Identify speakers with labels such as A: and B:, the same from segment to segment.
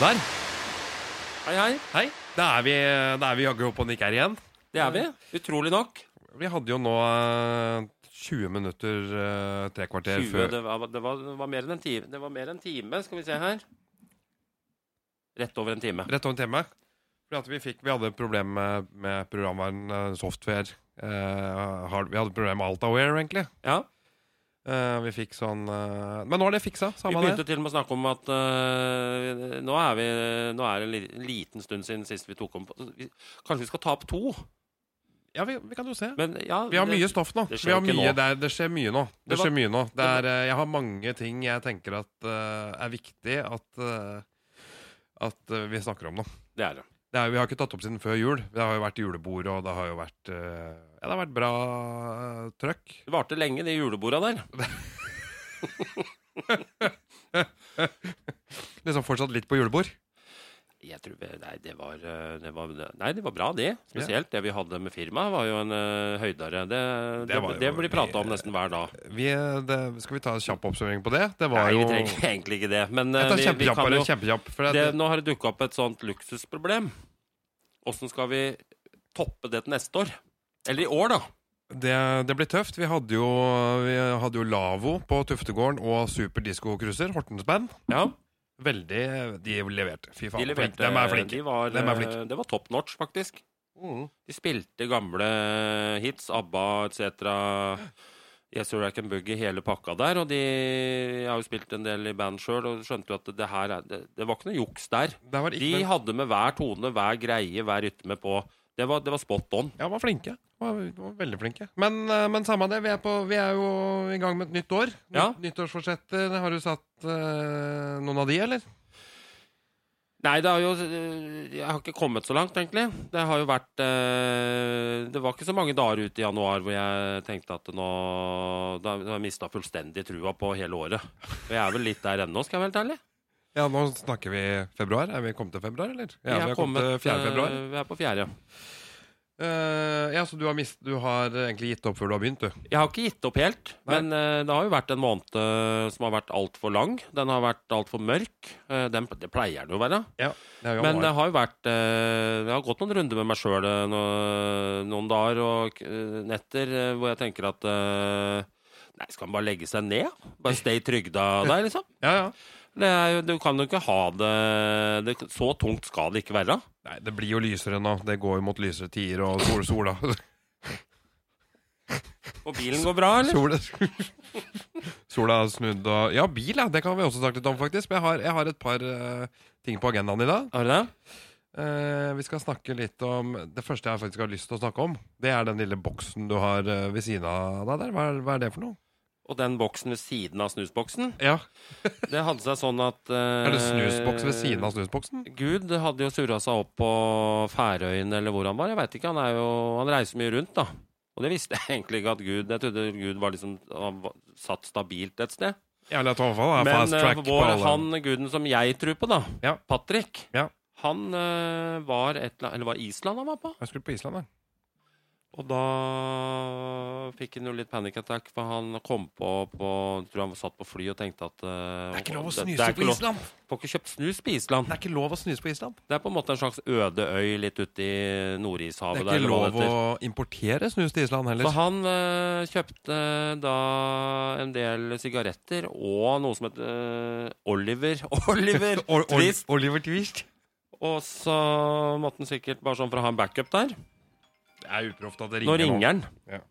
A: Der.
B: Hei, hei.
A: Hei. Da er vi, da er vi jaggu oppe og nikker her igjen.
B: Det er vi. Utrolig nok.
A: Vi hadde jo nå eh, 20 minutter, eh, tre kvarter
B: 20,
A: før
B: det, var, det, var, det var mer enn en time. Det var mer enn en time, skal vi se her. Rett over en time.
A: Rett over en time. Fordi at vi, fikk, vi hadde et problem med, med programvaren, eh, software eh, hard, Vi hadde et problem med Altaware, egentlig.
B: Ja.
A: Eh, vi fikk sånn eh, Men nå er det fiksa.
B: Vi
A: Samme det.
B: begynte til og med å snakke om at øh, nå, er vi, nå er det en li- liten stund siden sist vi tok om vi, Kanskje vi skal ta opp to?
A: Ja, vi, vi kan jo se.
B: Men ja,
A: Vi har
B: det-
A: mye stoff nå.
B: det
A: vi
B: skjer
A: har
B: jo ikke
A: mye,
B: nå.
A: Det, er, det skjer mye nå. Det,
B: Det var-
A: skjer mye nå. Det
B: det
A: er, eh, jeg har mange ting jeg tenker at eh, er viktig at, eh, at eh, vi snakker om nå.
B: Det er det.
A: Det er, vi har ikke tatt opp siden før jul. Det har jo vært julebord, og det har jo vært, eh, ja, det har vært bra eh, trøkk.
B: Det varte lenge, de juleborda der.
A: Liksom fortsatt litt på julebord.
B: Jeg tror vi- Nei, det var, øh, det var Nei, det var bra, det. Spesielt det vi hadde med firmaet, var jo en øh, høydare. Det, det,
A: var
B: det,
A: jo
B: blir prata om nesten hver dag.
A: Vi, eh, det, skal vi ta en kjapp oppsummering på det? Det var
B: Nei,
A: jo
B: vi trenger egentlig ikke det. Men øh,
A: Jeg tar
B: vi, vi
A: kjempekjapp,
B: kan
A: bare
B: jo
A: kjempekjapp. For
B: det,
A: det,
B: Nå har det dukka opp et sånt luksusproblem. Åssen skal vi toppe det til neste år? Eller i år, da.
A: det, det blir tøft. Vi hadde jo, vi hadde jo Lavo på Tuftegården og Super Disco Cruiser, Hortens band.
B: Ja,
A: Veldig De leverte. Fy faen.
B: de leverte,
A: flinke. De er flinke.
B: De var,
A: Dem er flinke.
B: eh, Det var top notch, faktisk.
A: Mm.
B: De spilte gamle hits, ABBA etc. Yes, Sir, I Can Boogie, hele pakka der. Og de jeg har jo spilt en del i band sjøl og skjønte jo at det her er, det, det var ikke noe juks der.
A: Det var
B: De
A: ikke noe-
B: hadde med hver tone, hver greie, hver rytme på. Det var, det var spot on.
A: Ja, var flinke. Var, var veldig flinke. Men, eh, men samme det, vi er, på, vi er jo i gang med et nytt år. Nytt,
B: Ja.
A: Nyttårsforsetter. Har du satt eh, noen av de, eller?
B: Nei, det har jo øh, Jeg har ikke kommet så langt, egentlig. Det har jo vært øh, Det var ikke så mange dager ute i januar hvor jeg tenkte at nå Da da har jeg mista fullstendig trua på hele året. Og jeg er vel litt der ennå, skal jeg være helt ærlig.
A: Ja, nå snakker vi februar. Er vi kommet til februar, eller? Ja, vi
B: har
A: har kommet til 4. februar.
B: øh, Vi er på fjerde.
A: Eh, ja, så du har, mist, du har egentlig gitt opp før du har begynt, du.
B: Jeg har ikke gitt opp helt,
A: Nei.
B: men eh, det har jo vært en måned eh, som har vært altfor lang. Den har vært altfor mørk. Eh, den, det pleier den jo å være.
A: Ja, det er jo
B: Men det
A: januar.
B: har jo vært eh, Jeg har gått noen runder med meg sjøl noen, noen dager og eh, netter eh, hvor jeg tenker at eh, Nei, skal man bare legge seg ned? Bare stay trygda der, liksom?
A: ja, ja.
B: Det er, jo- du kan jo ikke ha det, det Så tungt skal det ikke være.
A: Nei, det blir jo lysere nå. Det går jo mot lysere tider og sol, sola.
B: Og bilen går bra, eller?
A: Sola, sola har snudd og Ja, bil, ja. Det kan vi også snakke litt om, faktisk. Men jeg har, jeg har et par eh, ting på agendaen i dag.
B: Har du det?
A: Eh, vi skal snakke litt om Det første jeg faktisk har lyst til å snakke om, det er den lille boksen du har eh, ved siden av deg der. Hva er, hva er det for noe?
B: Og den boksen ved siden av snusboksen,
A: Ja, Eh,
B: det hadde seg sånn at
A: Er det snusboks ved siden av snusboksen?
B: Gud hadde jo surra seg opp på Færøyene eller hvor han var. Jeg vet ikke, han, er jo, han reiser mye rundt, da. Og det visste jeg egentlig ikke at Gud Jeg trodde Gud var liksom han var, satt stabilt et sted.
A: Ja, eller at han i hvert fall har
B: Men
A: fast
B: eh,
A: track på
B: vår,
A: alle.
B: han guden som jeg tror på, da,
A: Ja.
B: Patrick,
A: Ja.
B: han eh, var et eller annet Eller var Island han var på?
A: Jeg skulle på Island, da.
B: Og da fikk han jo litt panic attack, for han kom på, på Tror han satt på fly og tenkte at eh, det- det er ikke lov-
A: Island!
B: Får ikke kjøpt snus på Island.
A: Det er ikke lov å snuse på Island.
B: Det er på en måte en slags øde øy litt ute i
A: Det
B: Nordishavet.
A: er ikke
B: eller hva
A: lov å
B: heter.
A: importere snus til Island
B: Så
A: heller.
B: han eh, kjøpte da en del sigaretter og noe som het eh, Oliver. Oliver
A: Ol- Ol-
B: Twist.
A: Oliver Twist.
B: Og så måtte han sikkert bare sånn for å ha en backup der.
A: Det er uproft at det
B: Nå
A: ringer
B: ringer han.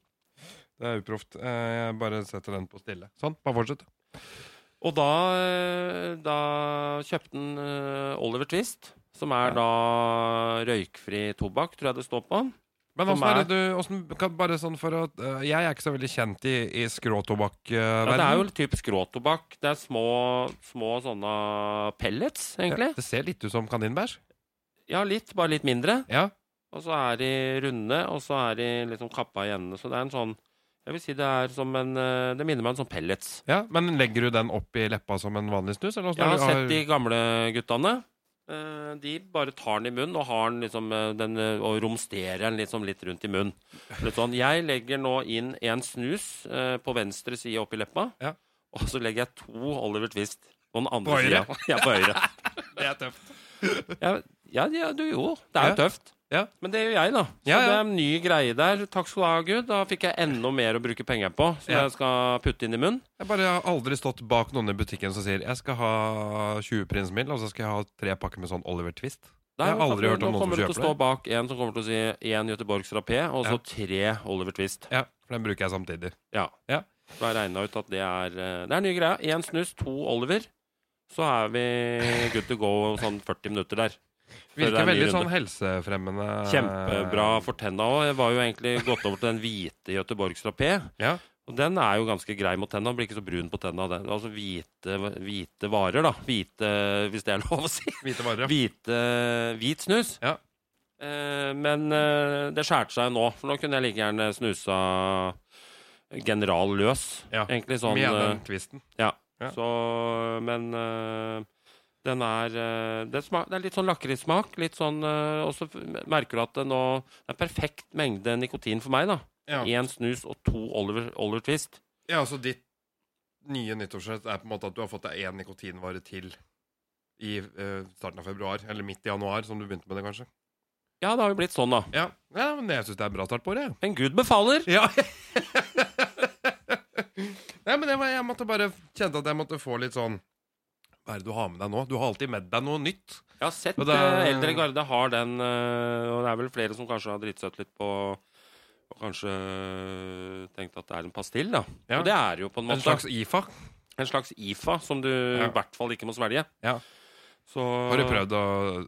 A: Det er uproft. Eh, Jeg bare setter den på stille. Sånn, bare fortsett.
B: Og da, eh, da kjøpte han eh, Oliver Twist, som er da røykfri tobakk, tror jeg det står på.
A: Men
B: For
A: åssen er det
B: meg-
A: du åssen- kan, Bare sånn for at eh, Jeg er ikke så veldig kjent i, i
B: Ja,
A: skråtobakkverdenen.
B: det er jo typisk råtobakk. Det er små, små sånne pellets, egentlig.
A: Ja, det ser litt ut som kaninbæsj.
B: Ja, litt, bare litt mindre.
A: Ja.
B: Og så er de runde, og så er de liksom kappa i endene. Så det er en sånn Jeg vil si det er som en eh, Det minner meg om en sånn pellets.
A: ja, Men legger du den opp i leppa som en vanlig snus? Eller
B: Jeg har sett de
A: de
B: gamle guttene. Eh, De bare tar den i munnen og har den liksom eh, den, eh, og romsterer den liksom litt rundt i munnen. Litt sånn. Jeg legger nå inn en snus eh, på venstre side oppi leppa,
A: Ja.
B: og så legger jeg to Oliver Twist på den
A: På
B: andre
A: høyre?
B: sida. Ja, på høyre.
A: Det er tøft.
B: Ja, ja, ja du jo. Det er jo
A: Ja.
B: tøft.
A: Ja.
B: Men det gjør jeg, da. Så
A: Ja, ja.
B: det er en ny greie der. Takk skal du ha, Gud. Da fikk jeg enda mer å bruke penger på, som
A: Ja.
B: jeg skal putte inn i munnen.
A: Jeg bare har aldri stått bak noen i butikken som sier 'jeg skal ha 20 prins mild', og så skal jeg ha tre pakker med sånn Oliver Twist.
B: Nei,
A: Jeg har aldri hørt om noen som
B: Nå kommer du til å
A: kjøper
B: stå bak en som kommer til å si én Göteborgs rapé, og så tre Oliver Twist.
A: Ja, For den bruker jeg samtidig.
B: Ja.
A: Ja.
B: Så jeg regna ut at det er eh, Det er en ny greie. Én snus, to Oliver. Så er vi good to go om sånn 40 minutter der. Før det er
A: Virker
B: en ny
A: veldig sånn
B: runde.
A: helsefremmende.
B: Kjempebra for tenna òg. Jeg var jo egentlig gått over til den hvite Göteborgs rapé.
A: Ja.
B: Og den er jo ganske grei mot tenna. Blir ikke så brun på tenna. Den. Altså hvite, hvite varer, da. Hvite, hvis det er lov å si.
A: Hvite varer. ja.
B: Hvite, hvit snus.
A: Ja.
B: Eh, men eh, det skjærte seg nå, for nå kunne jeg like gjerne snusa General løs,
A: Ja.
B: egentlig sånn.
A: Med
B: eh,
A: den twisten. Ja.
B: så, men øh, den er øh, det, smak, det er litt sånn lakrismak. Litt sånn, øh, og så f- merker du at det nå Det er perfekt mengde nikotin for meg, da.
A: Ja.
B: Én snus og to Oliver, Oliver Twist.
A: ja, altså ditt nye nyttårsrett er på en måte at du har fått deg én nikotinvare til i eh, starten av februar, eller midt i januar, som du begynte med det, kanskje.
B: Ja, det har jo blitt sånn, da.
A: Ja, ja men jeg syns det er en bra start på året, jeg.
B: Men gud befaler!
A: Ja. Nei, men det var, jeg måtte bare kjente at jeg måtte få litt sånn Hva er det du har med deg nå? Du har alltid med deg noe nytt.
B: Jeg har sett
A: Og det er-
B: øh, eldre garde har den, øh, og det er vel flere som kanskje har dritsøtt litt på og kanskje øh, tenkt at det er en pastill, da.
A: Ja.
B: Og det er jo på en måte
A: En slags IFA.
B: en slags IFA som du
A: Ja.
B: i hvert fall ikke må svelge.
A: Ja.
B: Så,
A: Har du prøvd å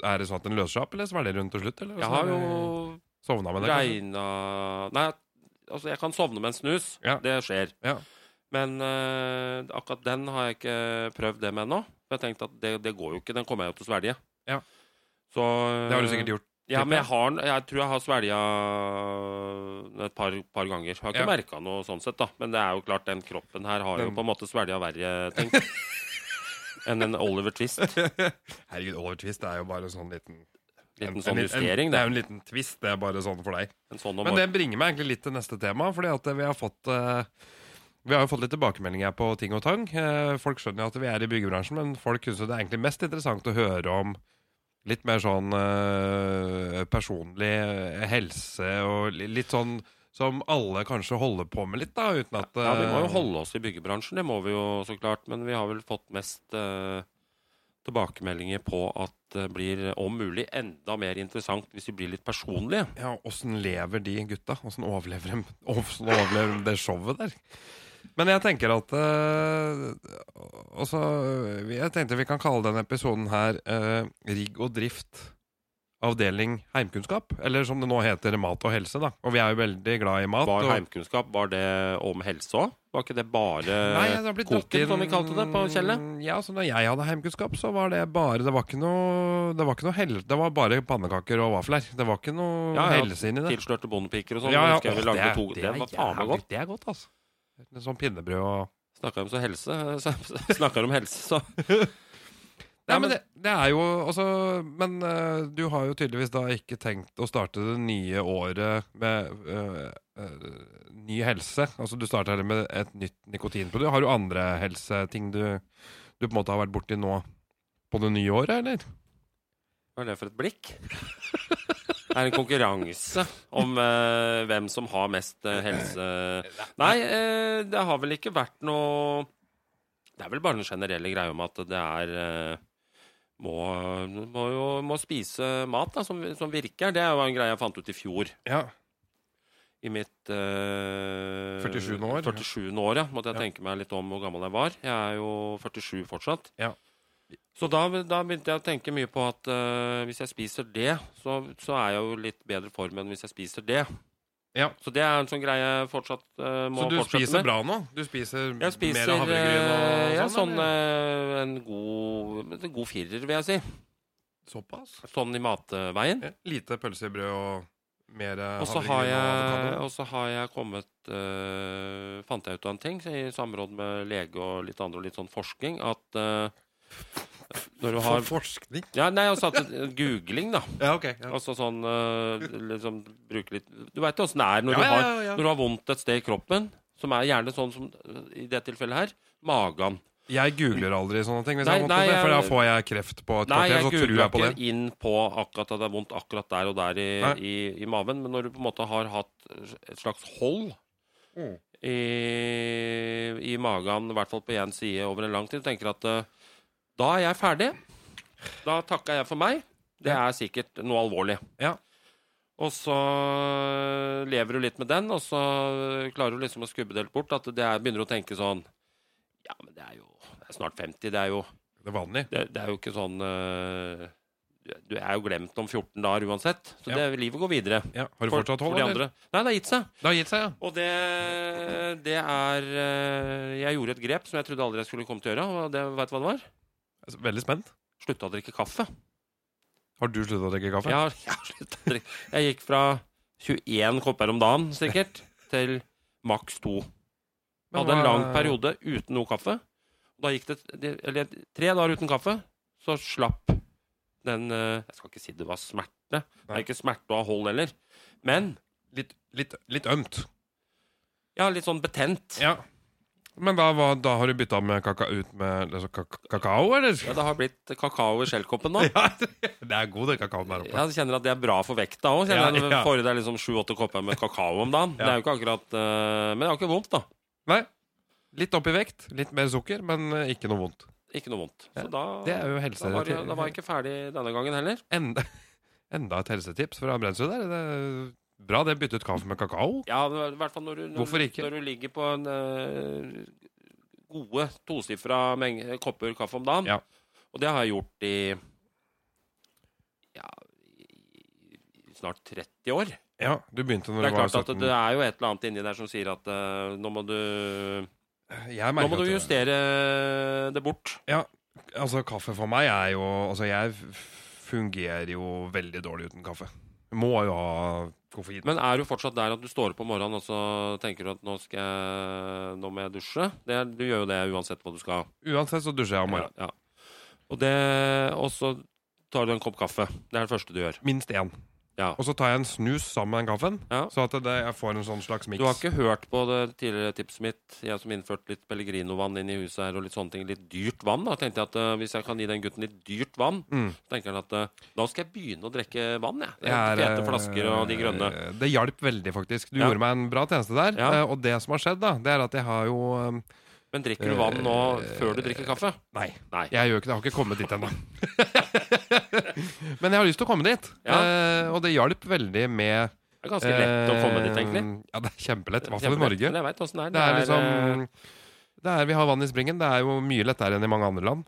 A: Er det sånn at den løser seg opp, eller svelger den til slutt? Eller? Sånn
B: Jeg har
A: eh,
B: jo
A: sovna med det. kanskje?
B: regna Nei, altså jeg kan sovne med en snus.
A: Ja.
B: Det skjer.
A: Ja.
B: Men eh, akkurat den har jeg ikke prøvd det med ennå. For jeg tenkte at det, det går jo ikke. Den kommer jeg jo til å svelge.
A: Ja.
B: Så,
A: Det har du sikkert gjort.
B: Ja, men jeg, har, den- jeg tror jeg har svelga et par, par ganger. Jeg har ikke
A: Ja.
B: merket merka noe sånn sett, da. Men det er jo klart, den kroppen her har jo
A: Den-
B: på en måte svelga verre ting enn en Oliver Twist.
A: Herregud, Oliver Twist er jo bare en sånn liten
B: Liten sånn
A: en-
B: justering,
A: en, det
B: det.
A: er jo en liten twist. Det er bare sånn for deg.
B: En sånn om
A: Men det bringer meg egentlig litt til neste tema, fordi at vi har fått eh, vi har jo fått litt tilbakemeldinger på ting og tang. Eh, Folk skjønner jo at vi er i byggebransjen, men folk syns jo det er egentlig mest interessant å høre om litt mer sånn eh, personlig eh, helse og li- litt sånn som alle kanskje holder på med litt, da, uten at
B: Ja, vi må jo
A: eh,
B: holde oss i byggebransjen, det må vi jo så klart. Men vi har vel fått mest eh, tilbakemeldinger på at det blir eh, om mulig enda mer interessant hvis vi blir litt personlige.
A: Ja, åssen lever de gutta? Åssen overlever, dem- hvordan overlever de det showet der? Men jeg tenker at eh, også, eh, Jeg tenkte vi kan kalle denne episoden her eh, Rigg og drift avdeling heimkunnskap. Eller som det nå heter, mat og helse, da. Og vi er jo veldig glad i mat.
B: Var
A: og,
B: heimkunnskap var det om helse òg? Var ikke det bare
A: Nei, det har blitt dratt
B: koken,
A: inn-
B: som vi kalte det på Kjellet?
A: Ja, så når jeg hadde heimkunnskap, så var det bare Det var ikke noe, det var ikke noe hel, Det var bare pannekaker og vafler. Det var ikke noe
B: Ja, ja.
A: helse inni det.
B: tilslørte bondepiker og sånn?
A: Ja, ja,
B: husker jeg vi
A: åh,
B: lagde
A: er-
B: to. Det,
A: er
B: var faen meg
A: jævlig-
B: godt.
A: Det er godt, altså. Med Sånn pinnebrød og
B: Snakka om så helse, så snakker om helse, så
A: Nei, men
B: Ja, men
A: det, det er jo altså Men eh, du har jo tydeligvis da ikke tenkt å starte det nye året med eh, eh, ny helse. Altså du starter heller med et nytt nikotinprodukt. Har du andre helseting du, du på en måte har vært borti nå på det nye året, eller?
B: Hva er det for et blikk? Det er en konkurranse om eh, hvem som har mest eh, helse... Nei, eh, det har vel ikke vært noe Det er vel bare den generelle greia om at det er eh, må, må jo må spise mat da, som, som virker. Det var en greie jeg fant ut i fjor.
A: Ja.
B: I mitt eh,
A: 47. år, ja.
B: 47. år, ja. Måtte jeg
A: Ja.
B: tenke meg litt om hvor gammel jeg var. Jeg er jo 47 fortsatt.
A: Ja.
B: Så da, da begynte jeg å tenke mye på at eh, hvis jeg spiser det, så, så er jeg jo litt bedre form enn hvis jeg spiser det.
A: Ja.
B: Så det er en sånn greie jeg fortsatt eh, må
A: Så du
B: fortsette
A: spiser
B: med.
A: bra nå? Du spiser,
B: Jeg spiser
A: mer havregryn og
B: eh, ja,
A: sånn?
B: sånn
A: eller?
B: eh, en god, en god firer, vil jeg si.
A: Såpass?
B: Sånn i matveien.
A: Ja. Lite pølsebrød og mer eh,
B: Og så
A: havregryn
B: har,
A: avokado?
B: jeg- og så har jeg kommet eh, Fant jeg ut av en ting så i samråd med lege og litt andre og litt sånn forskning at eh, når du har
A: For forskning?
B: ja, Nei, altså at googling, da.
A: Ja, ok. Ja.
B: Altså sånn eh, liksom bruke litt Du veit åssen det er
A: Ja,
B: når, du
A: ja,
B: har,
A: ja, ja.
B: når du har vondt et sted i kroppen, som er gjerne sånn som eh, i det tilfellet her magen.
A: Jeg googler aldri sånne ting, hvis
B: Nei,
A: jeg måtte
B: nei,
A: det, for da
B: jeg-
A: får jeg kreft på et
B: Nei,
A: kvarter.
B: jeg
A: Så tror
B: googla
A: jeg på
B: ikke
A: det.
B: inn på akkurat at det er vondt akkurat der og der i,
A: Nei.
B: i, i maven, men når du på en måte har hatt et slags hold
A: Mm.
B: i, i magen, i hvert fall på én side over en lang tid, tenker at eh, da er jeg ferdig. Da takker jeg for meg. Det
A: Ja.
B: er sikkert noe alvorlig.
A: Ja.
B: Og så eh, lever du litt med den, og så klarer du liksom å skubbe det litt bort. At det er, begynner å tenke sånn Ja, men det er jo det er snart 50. Det er jo,
A: Det er vanlig.
B: det, det er jo ikke sånn eh, du- Du er jo glemt om 14 dager uansett. Så
A: Ja.
B: det, livet går videre.
A: Ja. Har du
B: For-
A: fortsatt
B: for
A: hold,
B: de
A: eller?
B: andre. Nei, det har gitt seg.
A: Det har gitt seg, ja.
B: Og det, det er eh, Jeg gjorde et grep som jeg trodde aldri jeg skulle komme til å gjøre. Og det, vet du hva det var?
A: Altså, Veldig spent.
B: Slutta å drikke kaffe.
A: Har du sluttet å drikke kaffe?
B: Jeg, har- jeg, har sluttet å drikke. jeg gikk fra 21 kopper om dagen sikkert til maks to. Jeg hadde en lang periode uten noe kaffe. Da gikk det, det Eller tre dager uten kaffe, så slapp den eh, Jeg skal ikke si det var smerte. Det
A: Nei.
B: er ikke smerte å ha hold heller. Men
A: Litt, litt, litt ømt.
B: ja, litt sånn betent.
A: Ja. Men da, var, da har du bytta med kaka ut med altså, kak kakao, eller?
B: Ja, det har blitt kakao i skjellkoppen nå.
A: Ja, det er god den kakaoen der oppe.
B: Jeg kjenner at det er bra for vekta òg.
A: Ja,
B: Kjenner jeg
A: ja.
B: Får i deg liksom sju-åtte kopper med kakao om dagen.
A: Ja.
B: Det er jo ikke akkurat eh, Men det har ikke vondt, da.
A: Nei. Litt opp i vekt, litt mer sukker, men eh, ikke noe vondt.
B: Ikke noe vondt.
A: Ja,
B: Så da,
A: Det er jo
B: da, var, jeg-
A: helserelatert.
B: da var jeg ikke ferdig denne gangen heller.
A: Enda, enda et helsetips fra Brensrud der. Det er bra det byttet kaffe med kakao.
B: Ja, i hvert fall når du, når,
A: Hvorfor ikke?
B: når du ligger på en eh, gode tosifra mengde kopper kaffe om dagen.
A: Ja.
B: Og det har jeg gjort i ja, i, i snart 30 år.
A: Ja, du begynte
B: Det
A: når
B: er
A: du var
B: klart at
A: 17.
B: det er jo et eller annet inni der som sier at eh, nå må du,
A: Jeg
B: nå
A: merker
B: må du
A: at det-
B: justere det bort.
A: Altså, kaffe for meg er jo Altså, jeg f- fungerer jo veldig dårlig uten kaffe. Må jo ha koffein.
B: Men er du fortsatt der at du står opp om morgenen og så tenker du at nå, skal jeg, nå må jeg dusje? Det, er- du gjør jo det uansett hva du skal.
A: Uansett så dusjer jeg om morgenen.
B: Ja. Og, det, og så tar du en kopp kaffe. Det er det første du gjør.
A: Minst én.
B: Ja.
A: Og så tar jeg en snus sammen med den kaffen,
B: Ja.
A: så at det, jeg får en sånn slags miks.
B: Du har ikke hørt på det tidligere tipset mitt, jeg som innførte litt Pellegrino-vann inn i huset her, og litt sånne ting, litt dyrt vann. Da tenkte jeg at eh, hvis jeg kan gi den gutten litt dyrt vann,
A: Mm.
B: tenker han at eh, da skal jeg begynne å drikke vann, jeg. De
A: Jeg er,
B: Fete flasker og de grønne.
A: eh, Det hjalp veldig, faktisk. Du
B: Ja.
A: gjorde meg en bra tjeneste der.
B: Ja.
A: eh, Og det som har skjedd, da, det er at jeg har jo eh,
B: Men drikker du vann nå
A: eh,
B: før du drikker kaffe?
A: Nei.
B: Nei.
A: Jeg gjør ikke det. Jeg har ikke kommet dit ennå. Men jeg har lyst til å komme dit.
B: Ja.
A: Eh, og det hjalp veldig med
B: Det er ganske lett å komme dit, egentlig.
A: Eh, Ja, det er kjempelett. I hvert fall i
B: Kjempelett,
A: Norge.
B: Men jeg vet åssen det er.
A: Det er
B: eh,
A: liksom det er, Vi har vann i springen. Det er jo mye lettere enn i mange andre land.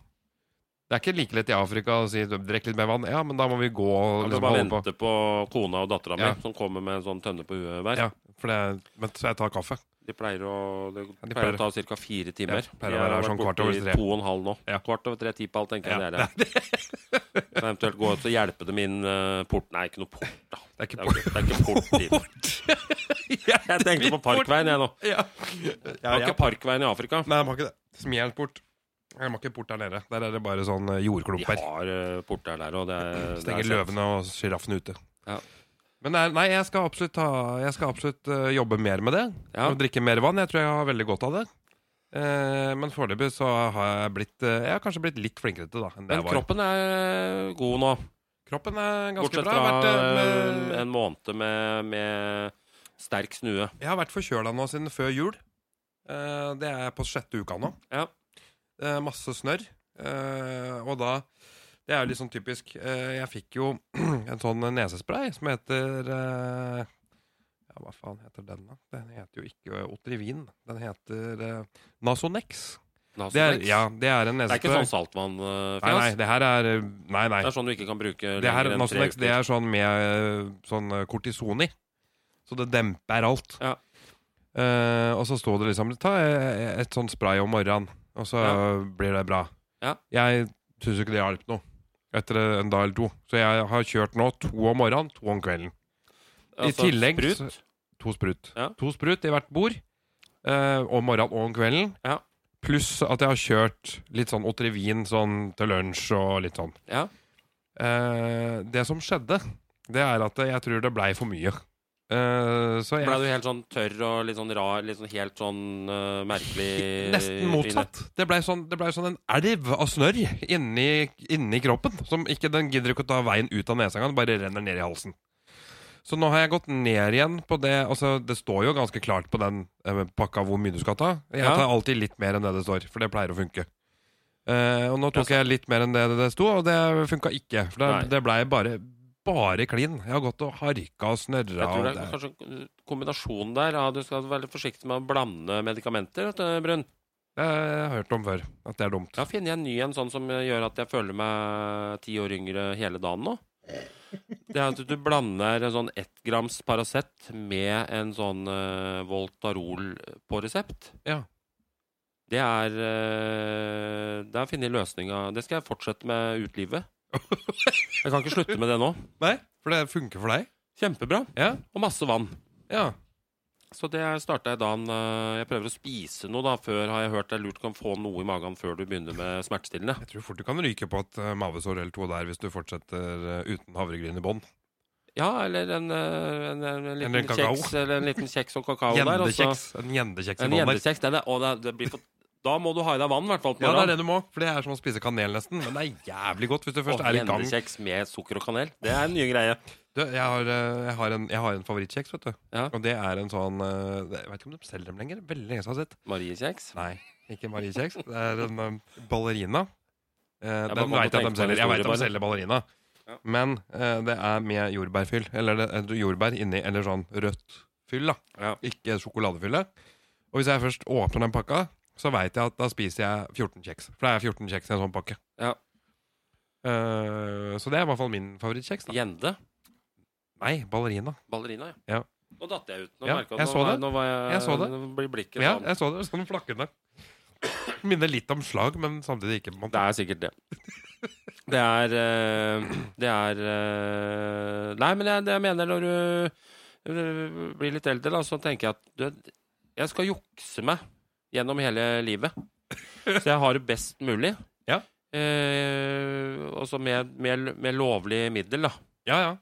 A: Det er ikke like lett i Afrika å si 'drikk litt mer vann'. Ja, men da må vi gå
B: jeg
A: og
B: kan
A: liksom,
B: bare
A: holde på.
B: vente på kona og dattera
A: Ja.
B: mi, som kommer med en sånn tønne på huet hver.
A: Ja, for det, men så jeg tar kaffe.
B: De pleier å, det
A: de
B: pleier
A: pleier-
B: å ta ca. fire timer.
A: Ja, pleier å være sånn kvart over tre.
B: tre. To og en halv nå.
A: Ja.
B: Kvart over tre, ti på halv, tenker
A: Ja,
B: jeg det er det. Så eventuelt gå ut og hjelpe dem inn eh, port Nei, ikke noe port, da.
A: Det er
B: Det
A: ikke
B: er, jo ikke- det er ikke port dit. Jeg tenkte på Parkveien, jeg nå.
A: Ja.
B: Det var ikke Parkveien i Afrika.
A: Nei, de har ikke det. Smelt bort. De har ikke port der nede. Der er det bare sånn eh,
B: De
A: jordklumper.
B: har eh, port der, der, og det er det
A: Stenger
B: er sant.
A: løvene og sjiraffene ute.
B: Ja.
A: Men det er- nei, jeg skal absolutt, ta, jeg skal absolutt eh, jobbe mer med det.
B: Ja.
A: Og drikke mer vann. Jeg tror jeg har veldig godt av det. Eh, men foreløpig så har jeg blitt eh, Jeg har kanskje blitt litt flinkere til det da, enn det
B: Men
A: jeg var.
B: kroppen er god nå.
A: kroppen er ganske
B: Bortsett
A: bra.
B: fra
A: Jeg har, vært, eh,
B: eh,
A: med,
B: en måned med, med sterk snue.
A: jeg har vært forkjøla nå siden før jul. Eh, det er på sjette uka nå.
B: Ja.
A: Eh, masse snørr. Eh, og da Det er jo litt sånn typisk. Eh, jeg fikk jo en sånn nesespray som heter eh, Ja, hva faen heter den, da? Den heter jo ikke Otrivin. Den heter eh, Nasonex. Det er,
B: Nasonex.
A: ja, det er en
B: det er ikke
A: nesespray.
B: sånn saltvannfjas.
A: Nei, nei, det her er eh, Nei, nei.
B: Det er sånn du ikke kan bruke
A: Det her,
B: lenger enn tre
A: Nasonex, det
B: uker.
A: er sånn med eh, sånn eh, kortison i. Så det demper alt.
B: Ja.
A: Eh, og så sto det liksom Ta eh, et sånn spray om morgenen, og så
B: Ja.
A: eh, blir det bra.
B: Ja.
A: Jeg syns ikke det hjalp noe etter en dag eller to. Så jeg har kjørt nå to om morgenen, to om kvelden. i tillegg
B: Altså, sprut.
A: så- To sprut.
B: Ja.
A: To sprut i hvert bord. eh, om morgenen og om kvelden.
B: Ja.
A: Pluss at jeg har kjørt litt sånn Otrivin sånn til lunsj og litt sånn.
B: Ja.
A: Eh, det som skjedde, det er at jeg tror det blei for mye. Eh, så jeg
B: Ble du helt sånn tørr og litt sånn rar, litt sånn helt sånn eh, merkelig
A: Nesten motsatt. Det blei sånn, det ble sånn en elv av snørr inni, inni kroppen. Som ikke, den gidder ikke å ta veien ut av nesa engang. Den bare renner ned i halsen. Så nå har jeg gått ned igjen på det altså Det står jo ganske klart på den eh, pakka hvor mye du skal ta. Jeg
B: Ja.
A: tar alltid litt mer enn det det står, for det pleier å funke. Eh, og nå tok
B: Ja,
A: jeg litt mer enn det det sto, og det funka ikke. For det,
B: Nei.
A: det blei bare bare klin. Jeg har gått og harka og snørra.
B: Jeg tror
A: og
B: det er
A: det-
B: kanskje kombinasjonen der. Ja, du skal være litt forsiktig med å blande medikamenter, vet du, Brun.
A: Det har jeg hørt om før. At det er dumt.
B: Ja, finner jeg en ny en sånn som gjør at jeg føler meg ti år yngre hele dagen nå. Det er at du blander en sånn ett grams Paracet med en sånn eh, Voltarol på resept.
A: Ja.
B: Det er eh, Det har jeg funnet løsninga Det skal jeg fortsette med ut livet. Jeg kan ikke slutte med det nå.
A: Nei, for det funker for deg.
B: Kjempebra.
A: Ja,
B: Og masse vann.
A: ja.
B: Så det starta jeg dagen eh, Jeg prøver å spise noe da før, har jeg hørt. Det er lurt du kan få noe i magen før du begynner med smertestillende.
A: Jeg tror fort du kan ryke på et eh, mavesår eller to der hvis du fortsetter eh, uten havregryn i bånn.
B: Ja, eller en, eh, en, en, en,
A: Eller en
B: liten,
A: kakao.
B: kjeks, eller en liten kjeks og kakao der. og så-
A: Gjendekjeks. En gjendekjeks i
B: En
A: bånn der.
B: gjendekjeks. Den er, å, det, er- det blir for, da må du ha i deg vann, i hvert fall. på
A: Ja, det er det
B: morgenen.
A: du må, for det er som å spise kanel nesten. Men det er jævlig godt hvis du først
B: Og
A: er i gang.
B: gjendekjeks med sukker og kanel. Det er en ny greie.
A: Du, jeg, har, eh, jeg, har en, jeg har en favorittkjeks, vet du.
B: Ja.
A: Og det er en sånn eh, det- Jeg vet ikke om de selger dem lenger. Veldig lenge siden Altså, jeg har sett.
B: Mariekjeks.
A: Nei, ikke Mariekjeks. Det er en eh, ballerina. Eh,
B: Ja, man
A: den
B: må
A: veit jeg
B: tenke
A: at de
B: på
A: selger. Jeg
B: historie
A: vet at de
B: bare.
A: selger ballerina.
B: Ja.
A: Men eh, det er med jordbærfyll. Eller det, eh, jordbær inni, eller sånn rødt fyll, da.
B: Ja.
A: ikke sjokoladefylle. Og hvis jeg først åpner den pakka, så veit jeg at da spiser jeg 14 kjeks. For det er 14 kjeks i en sånn pakke.
B: Ja.
A: Eh, så det er i hvert fall min favorittkjeks. da
B: Gjende.
A: Nei, ballerina.
B: Ballerina,
A: Ja.
B: Nå datt jeg ut. Nå
A: Ja,
B: merket
A: jeg
B: nå
A: så
B: var-
A: det.
B: Nå var jeg,
A: Jeg så det.
B: Nå blir blikket
A: Ja,
B: sånn.
A: jeg så det. Sånn flakkende. Minner litt om slag, men samtidig ikke. på en
B: Det
A: måte.
B: er sikkert det. Det er eh, Det er eh, Nei, men jeg, det jeg mener når du eh, blir litt eldre, da, så tenker jeg at du, jeg skal jukse meg gjennom hele livet. Så jeg har det best mulig.
A: Ja.
B: Eh, og så med, med, med lovlig middel, da.
A: Ja, ja.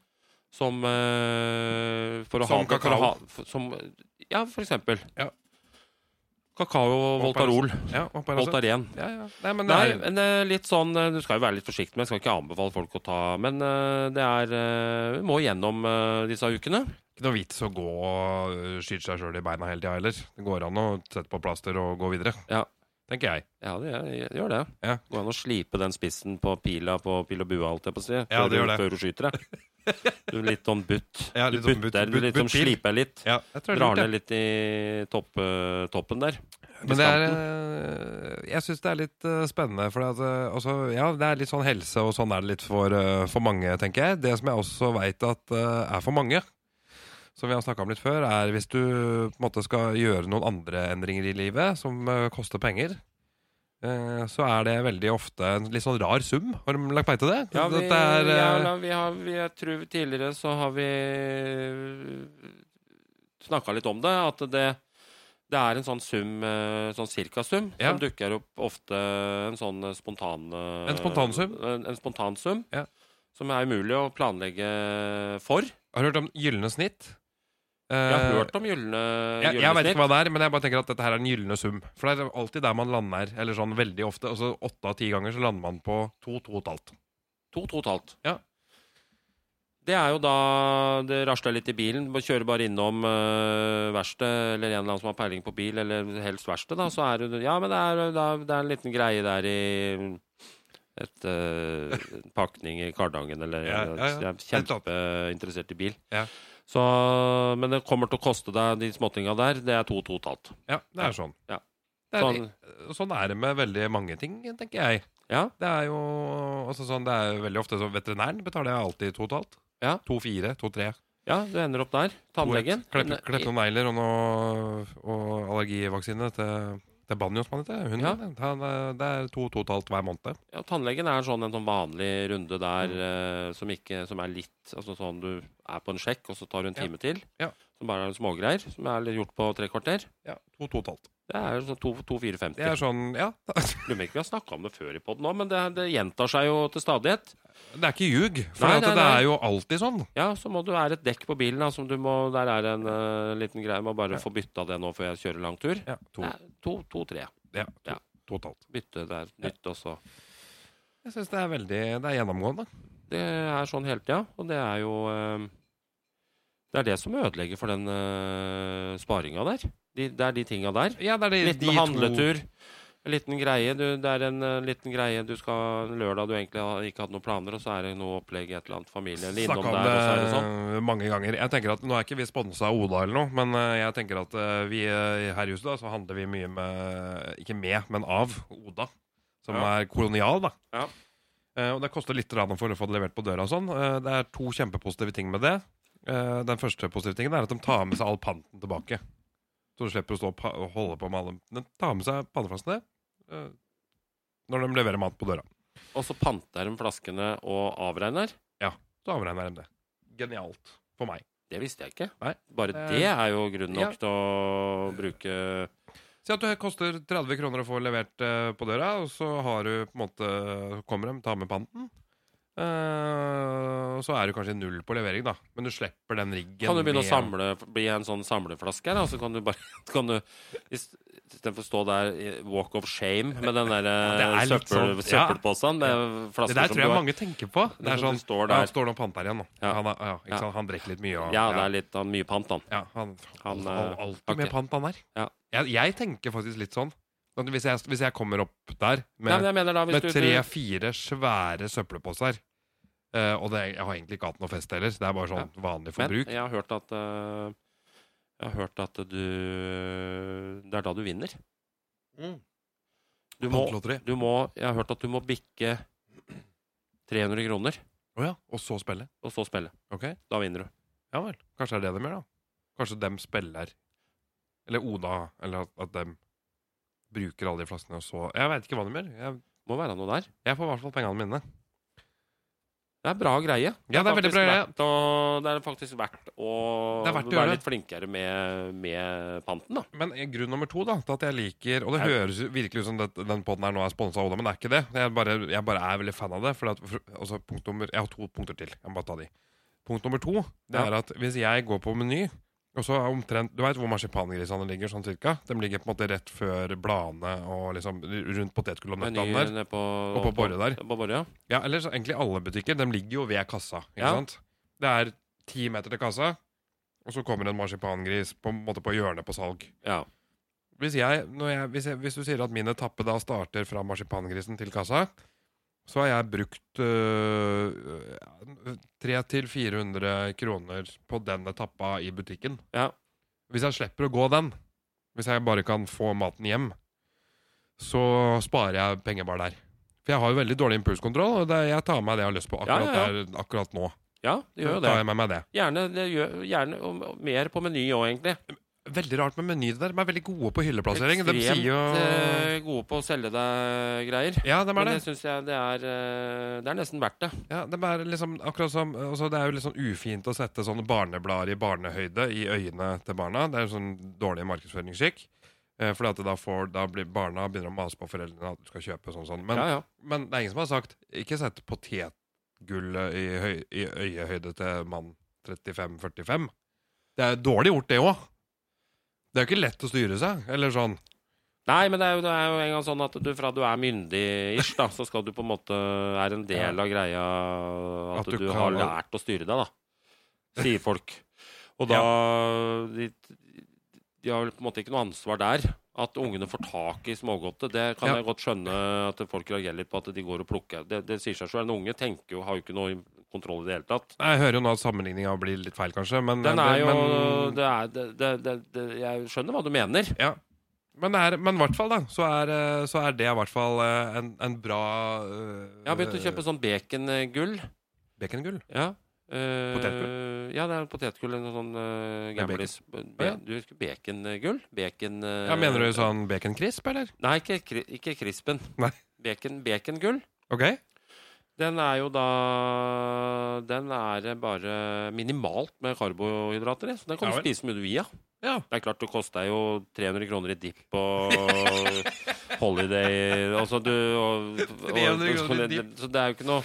B: Som eh, for å
A: Som
B: ha, det- For
A: kakao.
B: å ha, for, som, ja, for eksempel.
A: Ja.
B: Kakao og Voltarol.
A: ja, og bare altså.
B: Voltaren.
A: ja, ja. Nei, men det
B: Nei,
A: er
B: men eh, litt sånn eh, Du skal jo være litt forsiktig, men jeg skal ikke anbefale folk å ta Men eh, det er eh, Vi må gjennom eh, disse ukene.
A: ikke noe vits å gå og øh, skyte seg sjøl i beina hele tida heller. Det går an å sette på plaster og gå videre,
B: Ja.
A: tenker jeg.
B: Ja, det gjør, gjør det.
A: Ja.
B: Går an å slipe den spissen på pila på pil og bue, alt jeg på å si.
A: Ja,
B: før
A: det gjør
B: du-
A: det.
B: Før du skyter det. Du er litt sånn butt.
A: Ja,
B: Du
A: litt sånn butt-
B: butter,
A: butt-
B: du liksom
A: butt-pil.
B: sliper litt.
A: Ja, jeg tror det er
B: Drar
A: lurt, jeg.
B: ned litt i topp, eh, toppen der.
A: Men det er, eh, jeg syns det er litt eh, spennende. For at, eh, altså, ja, det er litt sånn helse, og sånn er det litt for, eh, for mange, tenker jeg. Det som jeg også veit at eh, er for mange, som vi har snakka om litt før, er hvis du på en måte skal gjøre noen andre endringer i livet som eh, koster penger. eh, Så er det veldig ofte en litt sånn rar sum. Har du lagt merke til det?
B: Ja,
A: At
B: vi,
A: det er, eh,
B: ja, la- vi har, vi, jeg tror tidligere så har vi snakka litt om det. At det, det er en sånn sum, eh, sånn cirkasum,
A: Ja.
B: som dukker opp ofte en sånn eh, spontan eh,
A: En spontansum?
B: En, en spontansum.
A: Ja.
B: Som er umulig å planlegge for.
A: Har du hørt om gylne snitt?
B: Jeg har
A: Eh,
B: hørt om gylne
A: Jeg, jeg
B: gylne
A: vet
B: snitt.
A: ikke hva det er, men jeg bare tenker at dette her er den gylne sum. For det er alltid der man lander, eller sånn veldig ofte. Altså åtte av ti ganger så lander man på to, to og et halvt.
B: To, to og et halvt.
A: Ja.
B: Det er jo da det rasler litt i bilen. Bare Kjører bare innom uh, verkstedet eller en eller annen som har peiling på bil, eller helst verksted, da, så er det Ja, men det er, det er, det er en liten greie der i et eh, en pakning i Kardangen, eller
A: Ja, ja, ja.
B: Jeg er kjempeinteressert i bil.
A: Ja.
B: Så, men det kommer til å koste deg de småtinga der. Det er to, to og et halvt.
A: Ja, det er sånn.
B: Ja.
A: Det er,
B: Sånn.
A: sånn er det med veldig mange ting, tenker jeg.
B: Ja.
A: Det er jo altså sånn, det er jo veldig ofte så Veterinæren betaler jeg alltid to og et halvt.
B: Ja.
A: To, fire, to, tre.
B: Ja, du ender opp der. Tannlegen. eh,
A: Kleppe klepp noen negler og noe og allergivaksine til, til Banjo, som han heter. Hunden.
B: Ja.
A: Han, eh, det er to, to og et halvt hver måned.
B: Ja, tannlegen er sånn en sånn vanlig runde der
A: Mm.
B: eh, som, ikke, som er litt altså sånn Du er på en sjekk, og så tar du en
A: Ja.
B: time til.
A: Ja.
B: Som bare er smågreier. Som er litt gjort på tre kvarter.
A: Ja, to, to og et halvt.
B: Det er jo sånn to- to, fire, femti.
A: Det er sånn, ja.
B: Lurer på om vi har snakka om det før i poden òg, men det, det gjentar seg jo til stadighet.
A: Det er ikke ljug, for
B: Nei,
A: at
B: nei,
A: det
B: nei.
A: er jo alltid sånn.
B: Ja, så må du være et dekk på bilen. da, som du må, der er en eh, liten greie. Må bare få bytta det nå før jeg kjører lang tur.
A: Ja, to,
B: Nei, To, to, tre.
A: ja, to,
B: Ja.
A: to og et halvt.
B: Bytte der, nytt, og så
A: Jeg syns det er veldig Det er gjennomgående.
B: Det er sånn hele tida, og det er jo eh, Det er det som ødelegger for den uh, sparinga der. De, det er de tinga der.
A: Ja, det er de,
B: Liten
A: de to
B: handletur. En liten greie. Du, det er en eh, liten greie du skal en lørdag du egentlig har- ikke hadde noen planer, og så er det noe opplegg i et eller annet familie eller innom
A: Snakka om
B: der, og så er det sånn.
A: det mange ganger. Jeg tenker at Nå er ikke vi sponsa av Oda eller noe, men eh, jeg tenker at eh, vi eh, her i huset da, så handler vi mye med Ikke med, men av Oda, som
B: Ja.
A: er kolonial, da.
B: Ja.
A: Eh, og det koster litt rann for å få det levert på døra og sånn. Eh, det er to kjempepositive ting med det. Eh, den første positive tingen er at de tar med seg all panten tilbake. Så du slipper å stå og pa- og holde på med alle De tar med seg panneflaskene eh, når de leverer mat på døra.
B: Og så panter de flaskene og avregner.
A: Så avregner de det. Genialt for meg.
B: Det visste jeg ikke.
A: Nei.
B: Bare
A: Eh,
B: det er jo grunn nok
A: ja.
B: til å bruke
A: Si at det koster 30 kroner å få levert eh, på døra, og så har du på en måte Kommer de, tar med panten. Eh, og så er du kanskje null på levering, da. Men du slipper den riggen.
B: Kan du begynne å
A: med-
B: samle Bli en sånn samleflaske her, da? Så kan du bare så kan du, Istedenfor å stå der i walk of shame med den der eh,
A: Ja, det er litt
B: søppel,
A: sånn, ja.
B: søppelposen med
A: Det
B: flasker
A: der
B: som
A: tror
B: du
A: jeg
B: har.
A: mange tenker på. Det er sånn,
B: du står
A: ja,
B: der.
A: står noen pant her igjen nå.
B: Ja.
A: Han, er, ja, ikke
B: Ja.
A: sant? han drikker litt mye. Og,
B: Ja, det er litt av mye pant, da.
A: ja, han,
B: Han,
A: han
B: eh,
A: alltid
B: ok.
A: med pant, han der.
B: Ja.
A: Jeg, jeg tenker faktisk litt sånn. At Hvis jeg, hvis jeg kommer opp der med,
B: Nei, men jeg mener da, hvis
A: med
B: du,
A: tre-fire svære søppelposer eh, Og det, jeg har egentlig ikke hatt noe fest heller. Det er bare sånn vanlig
B: men
A: forbruk.
B: jeg har hørt at eh, Jeg har hørt at du Det er da du vinner. Du må,
A: Pantelotteri.
B: du må Jeg har hørt at du må bikke 300 kroner,
A: Å ja. Og så spille.
B: og så spille.
A: Ok.
B: Da vinner du.
A: Ja vel. Kanskje er det dem gjør, da. Kanskje dem spiller. Eller Oda. Eller at, at dem bruker alle de flaskene, og så Jeg veit ikke hva de gjør. Jeg,
B: Må være noe der.
A: jeg får i hvert fall pengene mine.
B: Det er bra greie.
A: Ja, det er veldig
B: faktisk
A: bra. greie.
B: verdt Å, det er faktisk verdt å
A: Det er verdt å gjøre
B: være
A: det.
B: litt flinkere med, med panten, da.
A: Men eh, grunn nummer to da, til at jeg liker Og det
B: Er-
A: høres jo virkelig ut som det, den podden her nå er sponsa av Oda, men det er ikke det. Jeg bare, jeg bare er veldig fan av det. For at, for, altså, punkt nummer, jeg har to punkter til. Jeg må bare ta de. Punkt nummer to det
B: Ja.
A: er at hvis jeg går på Meny og så er omtrent, Du veit hvor marsipangrisene ligger? sånn cirka? De ligger på en måte rett før bladene og liksom rundt potetgull og
B: Meny
A: nøttene der.
B: nede på,
A: Og på Borre der.
B: På Borre, ja.
A: Ja, eller så egentlig alle butikker. De ligger jo ved kassa. ikke
B: Ja.
A: sant? Det er ti meter til kassa, og så kommer en marsipangris på, en måte på hjørnet på salg.
B: ja.
A: Hvis, jeg, når jeg, hvis, jeg, hvis du sier at min etappe da starter fra marsipangrisen til kassa, så har jeg brukt øh, 300-400 kroner på den etappa i butikken.
B: Ja.
A: Hvis jeg slipper å gå den, hvis jeg bare kan få maten hjem, så sparer jeg penger bare der. For jeg har jo veldig dårlig impulskontroll, og det, jeg tar med meg det jeg har lyst på akkurat,
B: Ja, ja,
A: Der, akkurat nå.
B: Ja, det gjør jo
A: Så
B: det.
A: tar jeg med meg det.
B: Gjerne, det gjør, gjerne og, og mer på Meny òg, egentlig.
A: Veldig rart med meny der. De er veldig gode på hylleplassering. De sier jo øh,
B: eh, gode på å selge deg greier.
A: Ja, de er
B: Men
A: det.
B: det syns jeg det er, eh, det er nesten verdt det.
A: Ja, det er, liksom, akkurat som, altså det er jo litt sånn ufint å sette sånne barneblader i barnehøyde i øynene til barna. Det er sånn dårlig markedsføringsskikk. Eh, fordi at da, får, da blir barna begynner å mase på foreldrene at du skal kjøpe sånn sånn. Men,
B: ja, ja.
A: men det er ingen som har sagt 'ikke sett potetgullet i, høy, i øyehøyde til mann 35-45'. Det er dårlig gjort, det òg. Det er jo ikke lett å styre seg. Eller sånn.
B: Nei, men det er jo, det er jo en gang sånn at du, fra du er myndig-ish, da, så skal du på en måte Er en del
A: Ja.
B: av greia at,
A: At
B: du,
A: du kan-
B: har lært å styre deg, da. Sier folk. Og da de, de har vel på en måte ikke noe ansvar der. At ungene får tak i smågodtet, det kan
A: Ja.
B: jeg godt skjønne at folk reagerer litt på. At de går og plukker. Det, det sier seg sjøl. En unge tenker jo, har jo ikke noe kontroll i det hele tatt.
A: Jeg hører jo nå at sammenligninga blir litt feil, kanskje. Men, eh,
B: Den er jo
A: men,
B: det er, det, det, det, det, Jeg skjønner hva du mener.
A: Men, det er, men i hvert fall, da, så er, eh, så er det i hvert fall eh, en, en bra eh,
B: Jeg har begynt å kjøpe sånn bacongull.
A: Bacongull.
B: Ja. eh,
A: Potetgull?
B: Ja, det er potetgull eller noe sånn uh,
A: Med
B: Gamlis. Be
A: ja.
B: du husker bacongull? Bacon... eh,
A: Ja, mener du sånn baconcrisp, eller?
B: Nei, ikke, kri- ikke krispen.
A: Nei.
B: Bacon, bacongull.
A: Ok.
B: Den er jo da Den er bare minimalt med karbohydrater i, så den kan
A: Ja
B: du
A: vel.
B: spise så mye du vil. Ja.
A: Ja.
B: Det er klart det kosta jo 300 kroner i dipp og holiday Altså du og, og,
A: 300 kroner i dipp.
B: Så det er jo ikke noe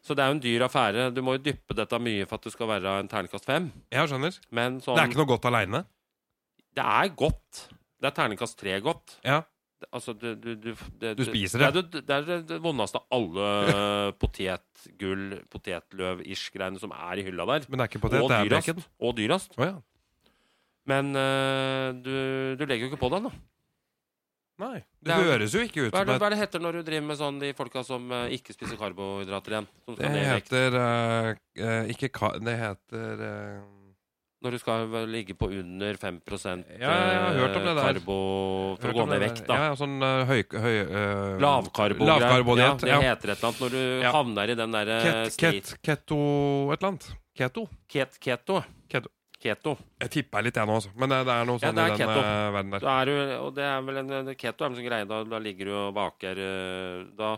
B: Så det er jo en dyr affære. Du må jo dyppe dette mye for at det skal være en terningkast fem.
A: Jeg skjønner.
B: Men sånn,
A: Det er ikke noe godt aleine.
B: godt. Det er terningkast tre godt.
A: Ja.
B: Det- Altså, du, du, du, det,
A: Du spiser det.
B: Det er det, det, er det- det vondeste av alle potetgull, potetløv-ish-greiene som er i hylla der.
A: Men det er ikke potet,
B: og
A: det er
B: dyrast.
A: bacon.
B: Og dyrast.
A: Å ja.
B: Men eh, du, du legger jo ikke på den, da.
A: Nei.
B: Det
A: Det
B: er jo-
A: høres jo ikke ut
B: Hva er
A: som
B: det,
A: et
B: hva er det heter når du driver med sånn de folka som eh, ikke spiser karbohydrater igjen? Som
A: Det
B: skal ned i vekt?
A: heter eh, eh, Ikke ka... Det heter eh,
B: Når du skal vel ligge på under 5
A: Ja, jeg har hørt om det
B: eh,
A: der.
B: karbo for
A: Hørt
B: å gå
A: om
B: ned i
A: det
B: vekt,
A: der.
B: da.
A: Ja, sånn eh, høy... høy eh,
B: Lavkarbodiett.
A: Lavkarbodiett,
B: ja,
A: ja.
B: det heter eh, et eller annet når du
A: Ja.
B: havner i den derre
A: Ket, ket, keto et eller annet. Keto.
B: ket, keto.
A: Keto.
B: Keto.
A: Jeg tipper litt, jeg nå, altså. Men det, det er noe
B: Ja,
A: sånn
B: det er
A: i den
B: keto.
A: eh, verden der.
B: Da er du, og det er vel en, keto er en sånn greie, da, da ligger du og baker eh, da,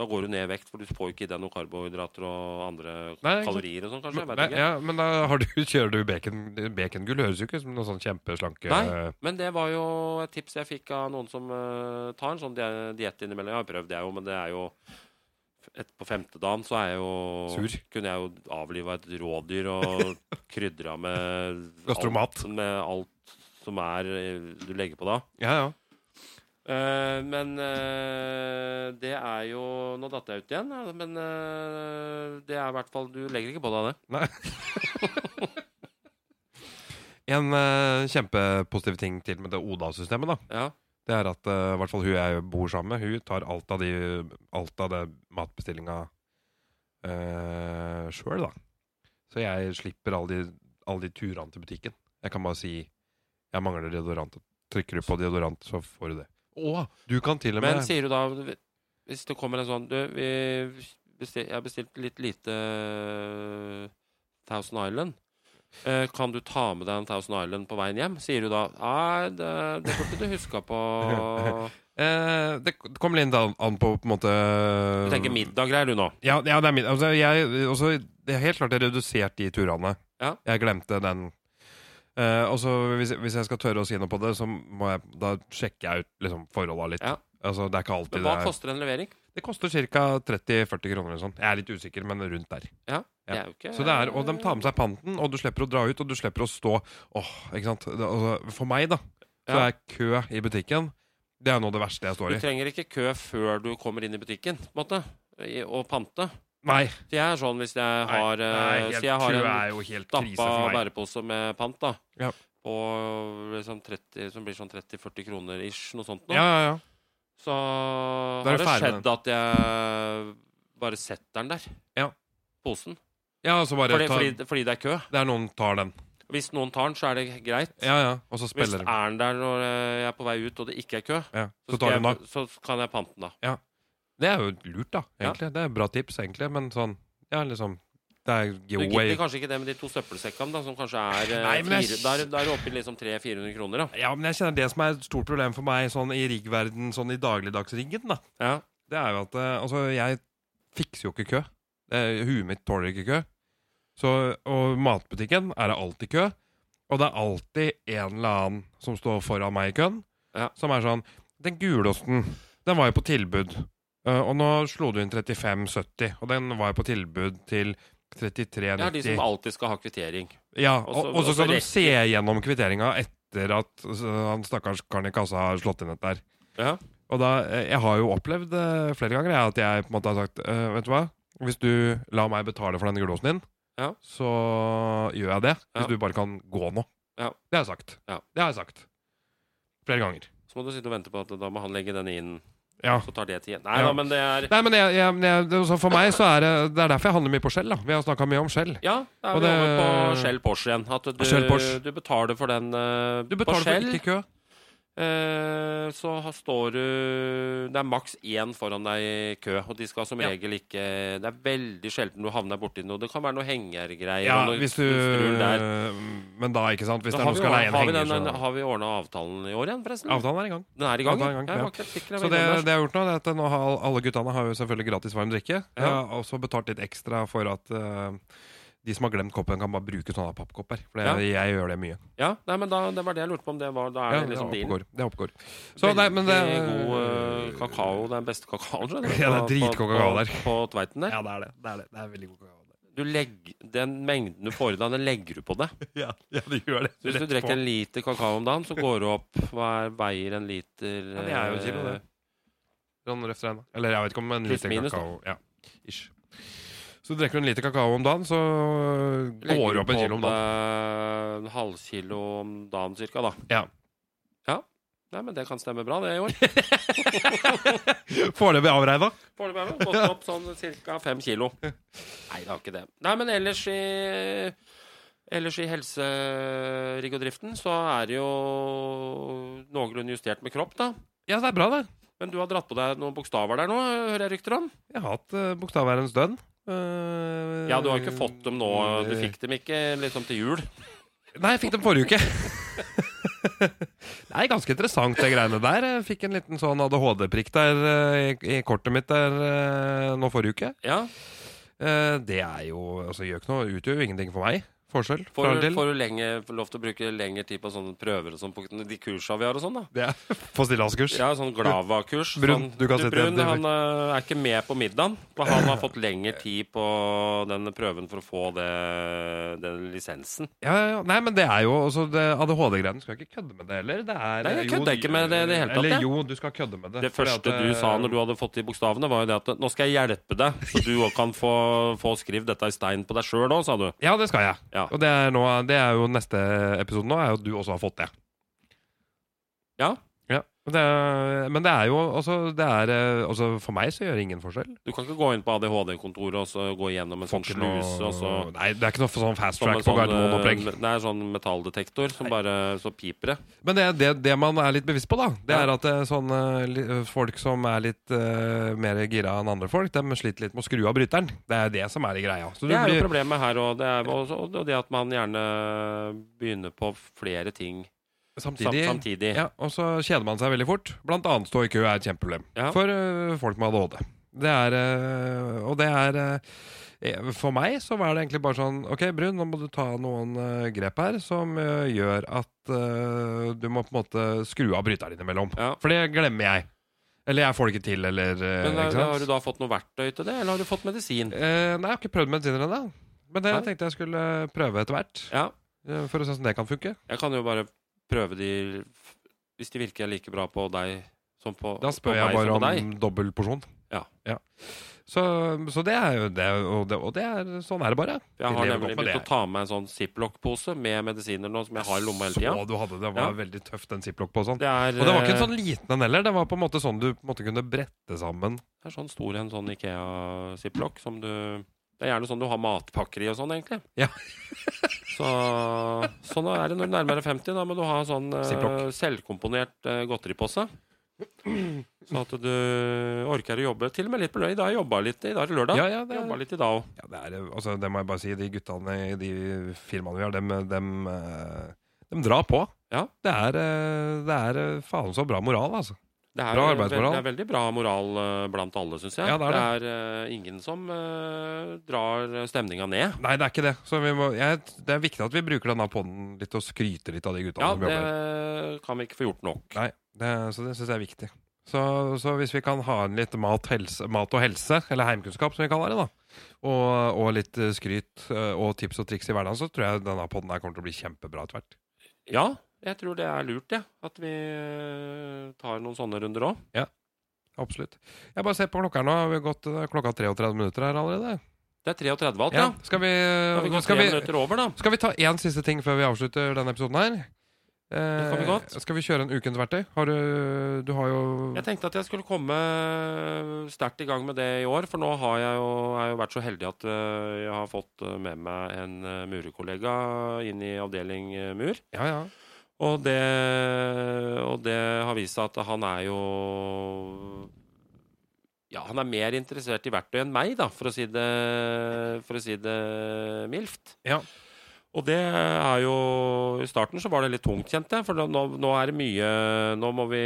B: da går du ned i vekt, for du får jo ikke i deg noen karbohydrater og andre
A: Nei, ikke sant.
B: kalorier og sånn, kanskje.
A: Men,
B: jeg vet
A: nei,
B: ikke.
A: ja, men da har du, kjører du bacon, bacongull. Høres jo ikke ut som noe sånn kjempeslanke
B: Nei. Men det var jo et tips jeg fikk av noen som eh, tar en sånn die- diett innimellom. Jeg har prøvd det, jeg jo, men det er jo et, På femte dagen så er jeg jo
A: Sur.
B: Kunne jeg jo avliva et rådyr og krydra med
A: Gastromat.
B: alt, med alt som er eh, du legger på da.
A: Ja, ja.
B: Eh, men eh, det er jo Nå datt jeg ut igjen, ja, men eh, det er i hvert fall Du legger ikke på deg det.
A: En eh, kjempepositiv ting til med det ODA-systemet, da.
B: Ja.
A: Det er at eh, i hvert fall hun jeg bor sammen med, hun tar alt av, de, alt av det matbestillinga uh, sjøl, da. Så jeg slipper alle de, alle de turene til butikken. Jeg kan bare si 'jeg mangler deodorant'. Trykker du på deodorant, så får du det. Å, du kan til og med
B: Men sier du da Hvis det kommer en sånn Du, vi bestil, jeg bestilte litt lite eh, Thousand Island. Eh, kan du ta med deg en Thousand Island på veien hjem? Sier du da Nei, det, det burde du huska på.
A: Eh, Det kommer litt an, an på på en måte
B: Du tenker middag, greier du nå?
A: Ja, ja det er min. Altså, jeg, også, det er helt klart jeg reduserte de turene.
B: Ja.
A: Jeg glemte den. Eh, og så hvis, hvis jeg skal tørre å si noe på det, så må jeg, da sjekker jeg ut liksom, forholda litt.
B: Ja.
A: Altså, det er ikke alltid
B: Men hva
A: det er
B: koster en levering?
A: Det koster ca. 30-40 kroner eller sånn. Jeg er litt usikker, men rundt der.
B: Ja,
A: Ja.
B: Det er jo ikke
A: Så det er, Og de tar med seg panten, og du slipper å dra ut, og du slipper å stå Åh, ikke sant? Det, altså, for meg, da, så
B: Ja.
A: er kø i butikken Det er noe av det verste jeg står
B: Du
A: i.
B: trenger ikke kø før du kommer inn i butikken, på en måte. I, og pante.
A: Nei,
B: Så jeg er sånn hvis jeg har,
A: nei,
B: eh,
A: helt,
B: så jeg har
A: kø
B: en
A: er jo helt krise
B: stappa
A: for meg.
B: bærepose med pant, da.
A: Ja.
B: Og liksom 30, som blir sånn 30-40 kroner ish, noe sånt nå.
A: Ja, ja, ja.
B: Så
A: Da er
B: har
A: du
B: det
A: ferdig med
B: skjedd at jeg bare setter den der.
A: Ja.
B: Posen.
A: Ja, så bare
B: Fordi,
A: ta,
B: fordi, fordi det er kø.
A: Det er noen tar den.
B: Hvis noen tar den, så er det greit.
A: Ja, ja. Og så
B: Hvis
A: spiller
B: er
A: den.
B: den der når eh, jeg er på vei ut, og det ikke er kø,
A: Ja. Så
B: så,
A: tar
B: skal
A: du den av.
B: jeg, så kan jeg pante den da.
A: Det er jo lurt, da.
B: Ja.
A: Egentlig. Det er bra tips, egentlig. Men sånn Ja, liksom Det er
B: Du gidder
A: giveaway.
B: kanskje ikke det med de to søppelsekkene, da, som kanskje er eh,
A: Nei, men jeg-
B: fire, Da er da er du oppe i liksom 300-400 kroner, da.
A: Ja, men jeg kjenner det som er et stort problem for meg sånn i riggverden, sånn i dagligdagsriggen, da.
B: Ja.
A: Det er jo at eh, Altså, jeg fikser jo ikke kø. Eh, Huet mitt tåler ikke kø. Så, og matbutikken er det alltid kø. Og det er alltid en eller annen som står foran meg i køen,
B: Ja.
A: som er sånn Den gulosten, den var jo på tilbud. Eh, og nå slo du inn 35,70, og den var jo på tilbud til
B: Ja, de
A: 33,90.
B: som alltid skal ha kvittering.
A: Ja,
B: Og så-
A: og, og
B: og
A: så
B: så
A: skal de
B: rekker-
A: se gjennom kvitteringa etter at altså, han stakkars karen i kassa har slått inn et der.
B: Ja.
A: Og da, eh, Jeg har jo opplevd eh, flere ganger jeg, at jeg på en måte har sagt eh, Vet du hva, hvis du lar meg betale for den gulosen din,
B: Ja.
A: så gjør jeg det. Hvis
B: Ja.
A: du bare kan gå nå.
B: Ja.
A: Det har jeg sagt.
B: Ja.
A: Det har jeg sagt. Flere ganger.
B: Så må du sitte og vente på at da må han legge den inn.
A: Ja.
B: Så tar det tid. Nei
A: Ja.
B: da, men det er
A: Nei, men jeg, jeg, jeg, det- så For meg så er det Det er derfor jeg handler mye på skjell. da Vi har snakka mye om skjell.
B: Ja, da er
A: Og
B: vi
A: det-
B: over på Shell Porsche igjen. At du,
A: Shell Porsche.
B: du betaler for den eh,
A: Du betaler
B: på Shell.
A: for ikke kø.
B: eh, så har- står du Det er maks én foran deg i kø, og de skal som
A: Ja.
B: regel ikke Det er veldig sjelden du havner borti noe. Det kan være noe hengergreier.
A: Ja,
B: og noe
A: hvis du
B: strull der.
A: Men da, ikke sant? Hvis
B: Da
A: det er
B: har
A: noen
B: vi
A: skal
B: ordnet-
A: leie en
B: har vi
A: henger,
B: den-
A: så
B: Har vi ordna avtalen i år igjen, forresten?
A: Avtalen er i gang.
B: Den er i gang?
A: Avtalen er i gang,
B: ja. Jeg
A: ja.
B: var ikke helt sikker, jeg
A: Så
B: var
A: det,
B: innom der.
A: det jeg har gjort nå, det er at nå har alle guttene har jo selvfølgelig gratis varm drikke. Jeg har også betalt litt ekstra for at eh, de som har glemt koppen, kan bare bruke sånne pappkopper. For det,
B: Ja.
A: jeg gjør det mye.
B: Ja, nei, men da, det var det jeg lurte på om det var Da er
A: Ja,
B: det liksom
A: det er
B: din.
A: oppgår. Det er oppgår. Så, nei, men det,
B: Veldig god eh, kakao. Det er den beste kakaoen, skjønner du.
A: Ja, det er
B: på-
A: dritgod
B: på-
A: kakao der.
B: På, på Tveiten der.
A: Ja, det er det. Det er, det. Det er veldig god kakao.
B: Du legger, den mengden du får i deg, den legger du på det.
A: Ja, ja, det gjør det.
B: Så hvis du
A: Rett
B: drikker
A: på.
B: en liter kakao om dagen, så går det opp Hva er, veier en liter
A: Ja, det er jo en kilo, det. Sånn røft regnet. Eller jeg vet ikke om en
B: Pluss
A: liter
B: minus, da.
A: kakao ja. Ish. Så drikker du en liter kakao om dagen, så
B: eh,
A: går det opp en kilo om dagen.
B: dagen. eh, En halvkilo om dagen cirka, da.
A: Ja.
B: Ja. Nei, men det kan stemme bra, det i år.
A: Foreløpig avregna.
B: Foreløpig har vi gått opp sånn cirka fem kilo. Nei, det har ikke det. Nei, men ellers i Ellers i helseriggodriften så er det jo noenlunde justert med kropp, da.
A: Ja, det er bra, det.
B: Men du har dratt på deg noen bokstaver der nå, hører jeg rykter om?
A: Jeg har hatt uh, bokstaværens dønn. Eh,
B: Ja, du har ikke fått dem nå. eh, Du fikk dem ikke liksom til jul.
A: Nei, jeg fikk dem forrige uke. Nei, ganske interessant, det greiene der. Jeg fikk en liten sånn ADHD-prikk der eh, i, i kortet mitt der eh, nå forrige uke.
B: Ja,
A: Eh, det er jo Altså, gjør ikke noe. Utgjør jo ingenting for meg. Forskjell. fra
B: Får,
A: eller til.
B: får du lenge, får lov til å bruke lengre tid på sånne prøver og sånn, på de kursa vi har og sånn, da?
A: Det er på stillaskurs.
B: Ja, sånn Glava-kurs.
A: Brun,
B: sånn,
A: du kan sitte-
B: Brun
A: det-
B: han eh, er ikke med på middagen, for han har fått lengre tid på den prøven for å få det, den lisensen.
A: Ja, ja, ja. Nei, men det er jo altså, det- ADHD-greiene. Skal ikke kødde med det heller. Det er,
B: Nei, jeg
A: jo,
B: kødder ikke med det i det hele tatt,
A: Eller
B: jeg.
A: jo, du skal kødde med det. eh,
B: Det første du sa når du hadde fått de bokstavene, var jo det at nå skal jeg hjelpe deg, så du òg kan få, få skrevet dette i stein på deg sjøl òg, sa du.
A: Ja, det skal jeg.
B: Ja.
A: Og det er, nå, det er jo neste episode nå, er jo at du også har fått det.
B: Ja.
A: Ja, og det er, Men det er jo altså, det er, eh, altså For meg så gjør det ingen forskjell.
B: Du kan ikke gå inn på ADHD-kontoret og så gå gjennom en sånn
A: Ikke noe-
B: sluse, og så
A: Nei, det er ikke noe sånn fast
B: Som en
A: track på
B: sånn,
A: Gardermoen-opplegg.
B: eh, Det er sånn metalldetektor som bare så piper det.
A: Men det, det, det man er litt bevisst på, da, det
B: Ja.
A: er at eh, sånne li- folk som er litt eh, mer gira enn andre folk, de sliter litt med å skru av bryteren. Det er det som er i greia. Så du
B: Det er jo
A: blir,
B: problemet her òg. Det er også, og det at man gjerne begynner på flere ting sam
A: samtidig,
B: samtidig.
A: Ja, og så kjeder man seg veldig fort. Blant annet stå i kø er et kjempeproblem
B: Ja.
A: for øh, folk med ADHD. Det er øh, Og det er øh, For meg så var det egentlig bare sånn Ok, Brun, nå må du ta noen øh, grep her som øh, gjør at øh, du må på en måte skru av bryteren innimellom.
B: Ja.
A: For det glemmer jeg. Eller jeg får det ikke til, eller øh,
B: Men
A: ikke
B: har,
A: sant?
B: har du da fått noe verktøy til det, eller har du fått medisin?
A: Eh, nei, jeg har ikke prøvd medisiner ennå. Men det
B: Nei.
A: tenkte jeg skulle eh, prøve etter hvert.
B: Ja,
A: eh, For å se hvordan det kan funke.
B: jeg kan jo bare prøve de Hvis de virker like bra på deg som på,
A: Da spør
B: på
A: jeg
B: meg
A: bare
B: som på
A: om dobbel porsjon.
B: Ja.
A: Så, så det er jo det, og det, og det er, sånn er det bare.
B: Jeg har
A: lever
B: nemlig
A: godt med
B: begynt å
A: det.
B: ta med en sånn ziplock-pose med medisiner nå, som jeg har i lomma hele tida.
A: Så du hadde det, var
B: Ja.
A: veldig tøff den ziplock på og sånn.
B: Det er,
A: Og det var ikke en
B: eh,
A: sånn liten en heller, det var på en måte sånn du på en måte kunne brette sammen.
B: Det er sånn stor en sånn Ikea-ziplock som du Det er gjerne sånn du har matpakker i og sånn, egentlig.
A: Ja.
B: Så sånn er det når du nærmer deg 50. Da må du ha sånn eh,
A: Ziplock.
B: selvkomponert eh, godteripose. Sånn at du orker å jobbe. Til og med litt på lørdag. I dag jobba jeg litt. I dag er det lørdag.
A: Ja, ja, det,
B: Jeg jobba litt i dag òg.
A: ja, det er altså, det må jeg bare si, de guttene i de firmaene vi har, dem, dem, eh, dem drar på.
B: Ja.
A: Det er, eh, det er eh, faen så bra moral, altså.
B: Det er,
A: Bra
B: veld-
A: arbeidsmoral.
B: Det er veldig bra moral eh, blant alle, syns jeg.
A: Ja, det er
B: eh, ingen som eh, drar stemninga ned.
A: Nei, det er ikke det. Så vi må, jeg, det er viktig at vi bruker denne podden litt og skryter litt av de guttene
B: Ja,
A: som jobber.
B: det kan vi ikke få gjort nok.
A: Nei, det, så det syns jeg er viktig. Så, så hvis vi kan ha en litt mat, helse, mat og helse, eller heimkunnskap som vi kaller det, da, og, og litt eh, skryt eh, og tips og triks i hverdagen, så tror jeg denne podden her kommer til å bli kjempebra etter hvert.
B: Ja, jeg tror det er lurt, jeg. At vi eh, tar noen sånne runder òg.
A: Absolutt. Jeg bare ser på klokka her nå. Vi har gått eh, klokka 33 minutter her allerede.
B: Det er 33 alt,
A: Ja,
B: ja.
A: skal vi,
B: Da har vi gått
A: skal
B: tre
A: vi,
B: minutter over, da.
A: skal vi ta én siste ting før vi avslutter denne episoden her? Eh,
B: Det kan vi godt.
A: skal vi kjøre en ukens verktøy? Har du, du har jo
B: Jeg tenkte at jeg skulle komme eh, sterkt i gang med det i år, for nå har jeg jo, har jeg jo vært så heldig at eh, jeg har fått eh, med meg en eh, murekollega inn i avdeling eh, mur.
A: Ja, ja.
B: Og det, og det har vist seg at han er jo Ja, han er mer interessert i verktøy enn meg, da, for å si det, for å si det mildt.
A: Ja.
B: Og det er jo I starten så var det litt tungt, kjente jeg. For da- nå, nå er det mye Nå må vi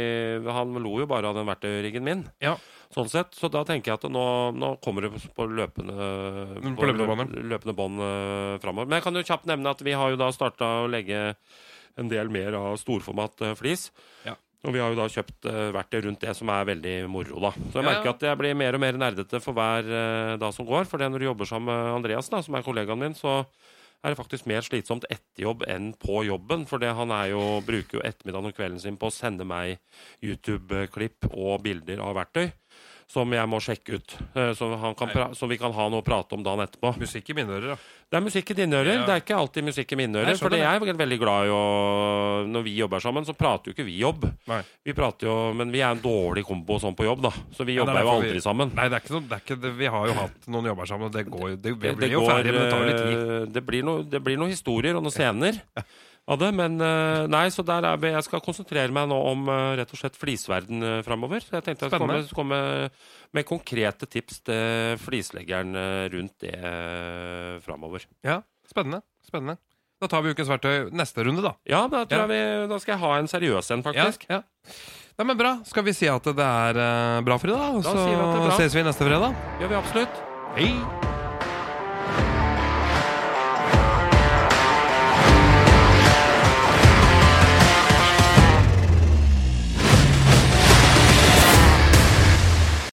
B: Han lo jo bare av den verktøyriggen min.
A: Ja.
B: Sånn sett, Så da tenker jeg at nå, nå kommer det på løpende
A: Mm, På løpende bånd,
B: løpende bånd eh, framover. Men jeg kan jo kjapt nevne at vi har jo da starta å legge en del mer av storformat eh, flis.
A: Ja.
B: Og vi har jo da kjøpt eh, verktøy rundt det som er veldig moro, da. Så jeg
A: Ja,
B: merker
A: ja.
B: at jeg blir mer og mer nerdete for hver eh, dag som går. For det når du jobber sammen med Andreas, da, som er kollegaen min, så er det faktisk mer slitsomt etter jobb enn på jobben. For det han er jo, bruker jo ettermiddagen og kvelden sin på å sende meg YouTube-klipp og bilder av verktøy. Som jeg må sjekke ut, eh, så, han kan
A: Nei.
B: pra så vi kan ha noe å prate om dagen etterpå.
A: Musikk i mine ører, da.
B: Det er musikk i dine ører.
A: Ja.
B: Det er ikke alltid musikk i mine ører.
A: Nei, jeg
B: For
A: skjønner
B: jeg er veldig glad i å Når vi jobber sammen, så prater jo ikke vi jobb.
A: Nei.
B: Vi prater jo Men vi er en dårlig kombo sånn på jobb, da. Så vi
A: Ja, det er
B: jobber jo
A: derfor vi-
B: aldri sammen.
A: Nei, det er ikke noe, det er ikke, det, vi har jo hatt noen jobber sammen, og det går jo Det, vi
B: Det-
A: blir
B: det
A: jo
B: går,
A: ferdig, men det tar jo litt tid.
B: eh, Det blir noe- det blir noen historier og noen scener av det. Men eh, nei, så der er vi. Jeg skal konsentrere meg nå om eh, rett og slett flisverden eh, framover. Så Jeg tenkte jeg skulle komme,
A: Spennende.
B: komme med konkrete tips til flisleggeren eh, rundt det eh, framover.
A: Ja, spennende. Spennende. Da tar vi ukens verktøy neste runde, da.
B: Ja, da, tror
A: Ja.
B: Jeg vi, da skal jeg ha en seriøs en,
A: Ja,
B: faktisk.
A: ja. Nei, men bra. Skal vi si at det er eh, bra for i dag? og
B: Da
A: Så
B: sier vi at det er bra.
A: ses vi neste fredag.
B: Gjør vi absolutt.
A: Hei!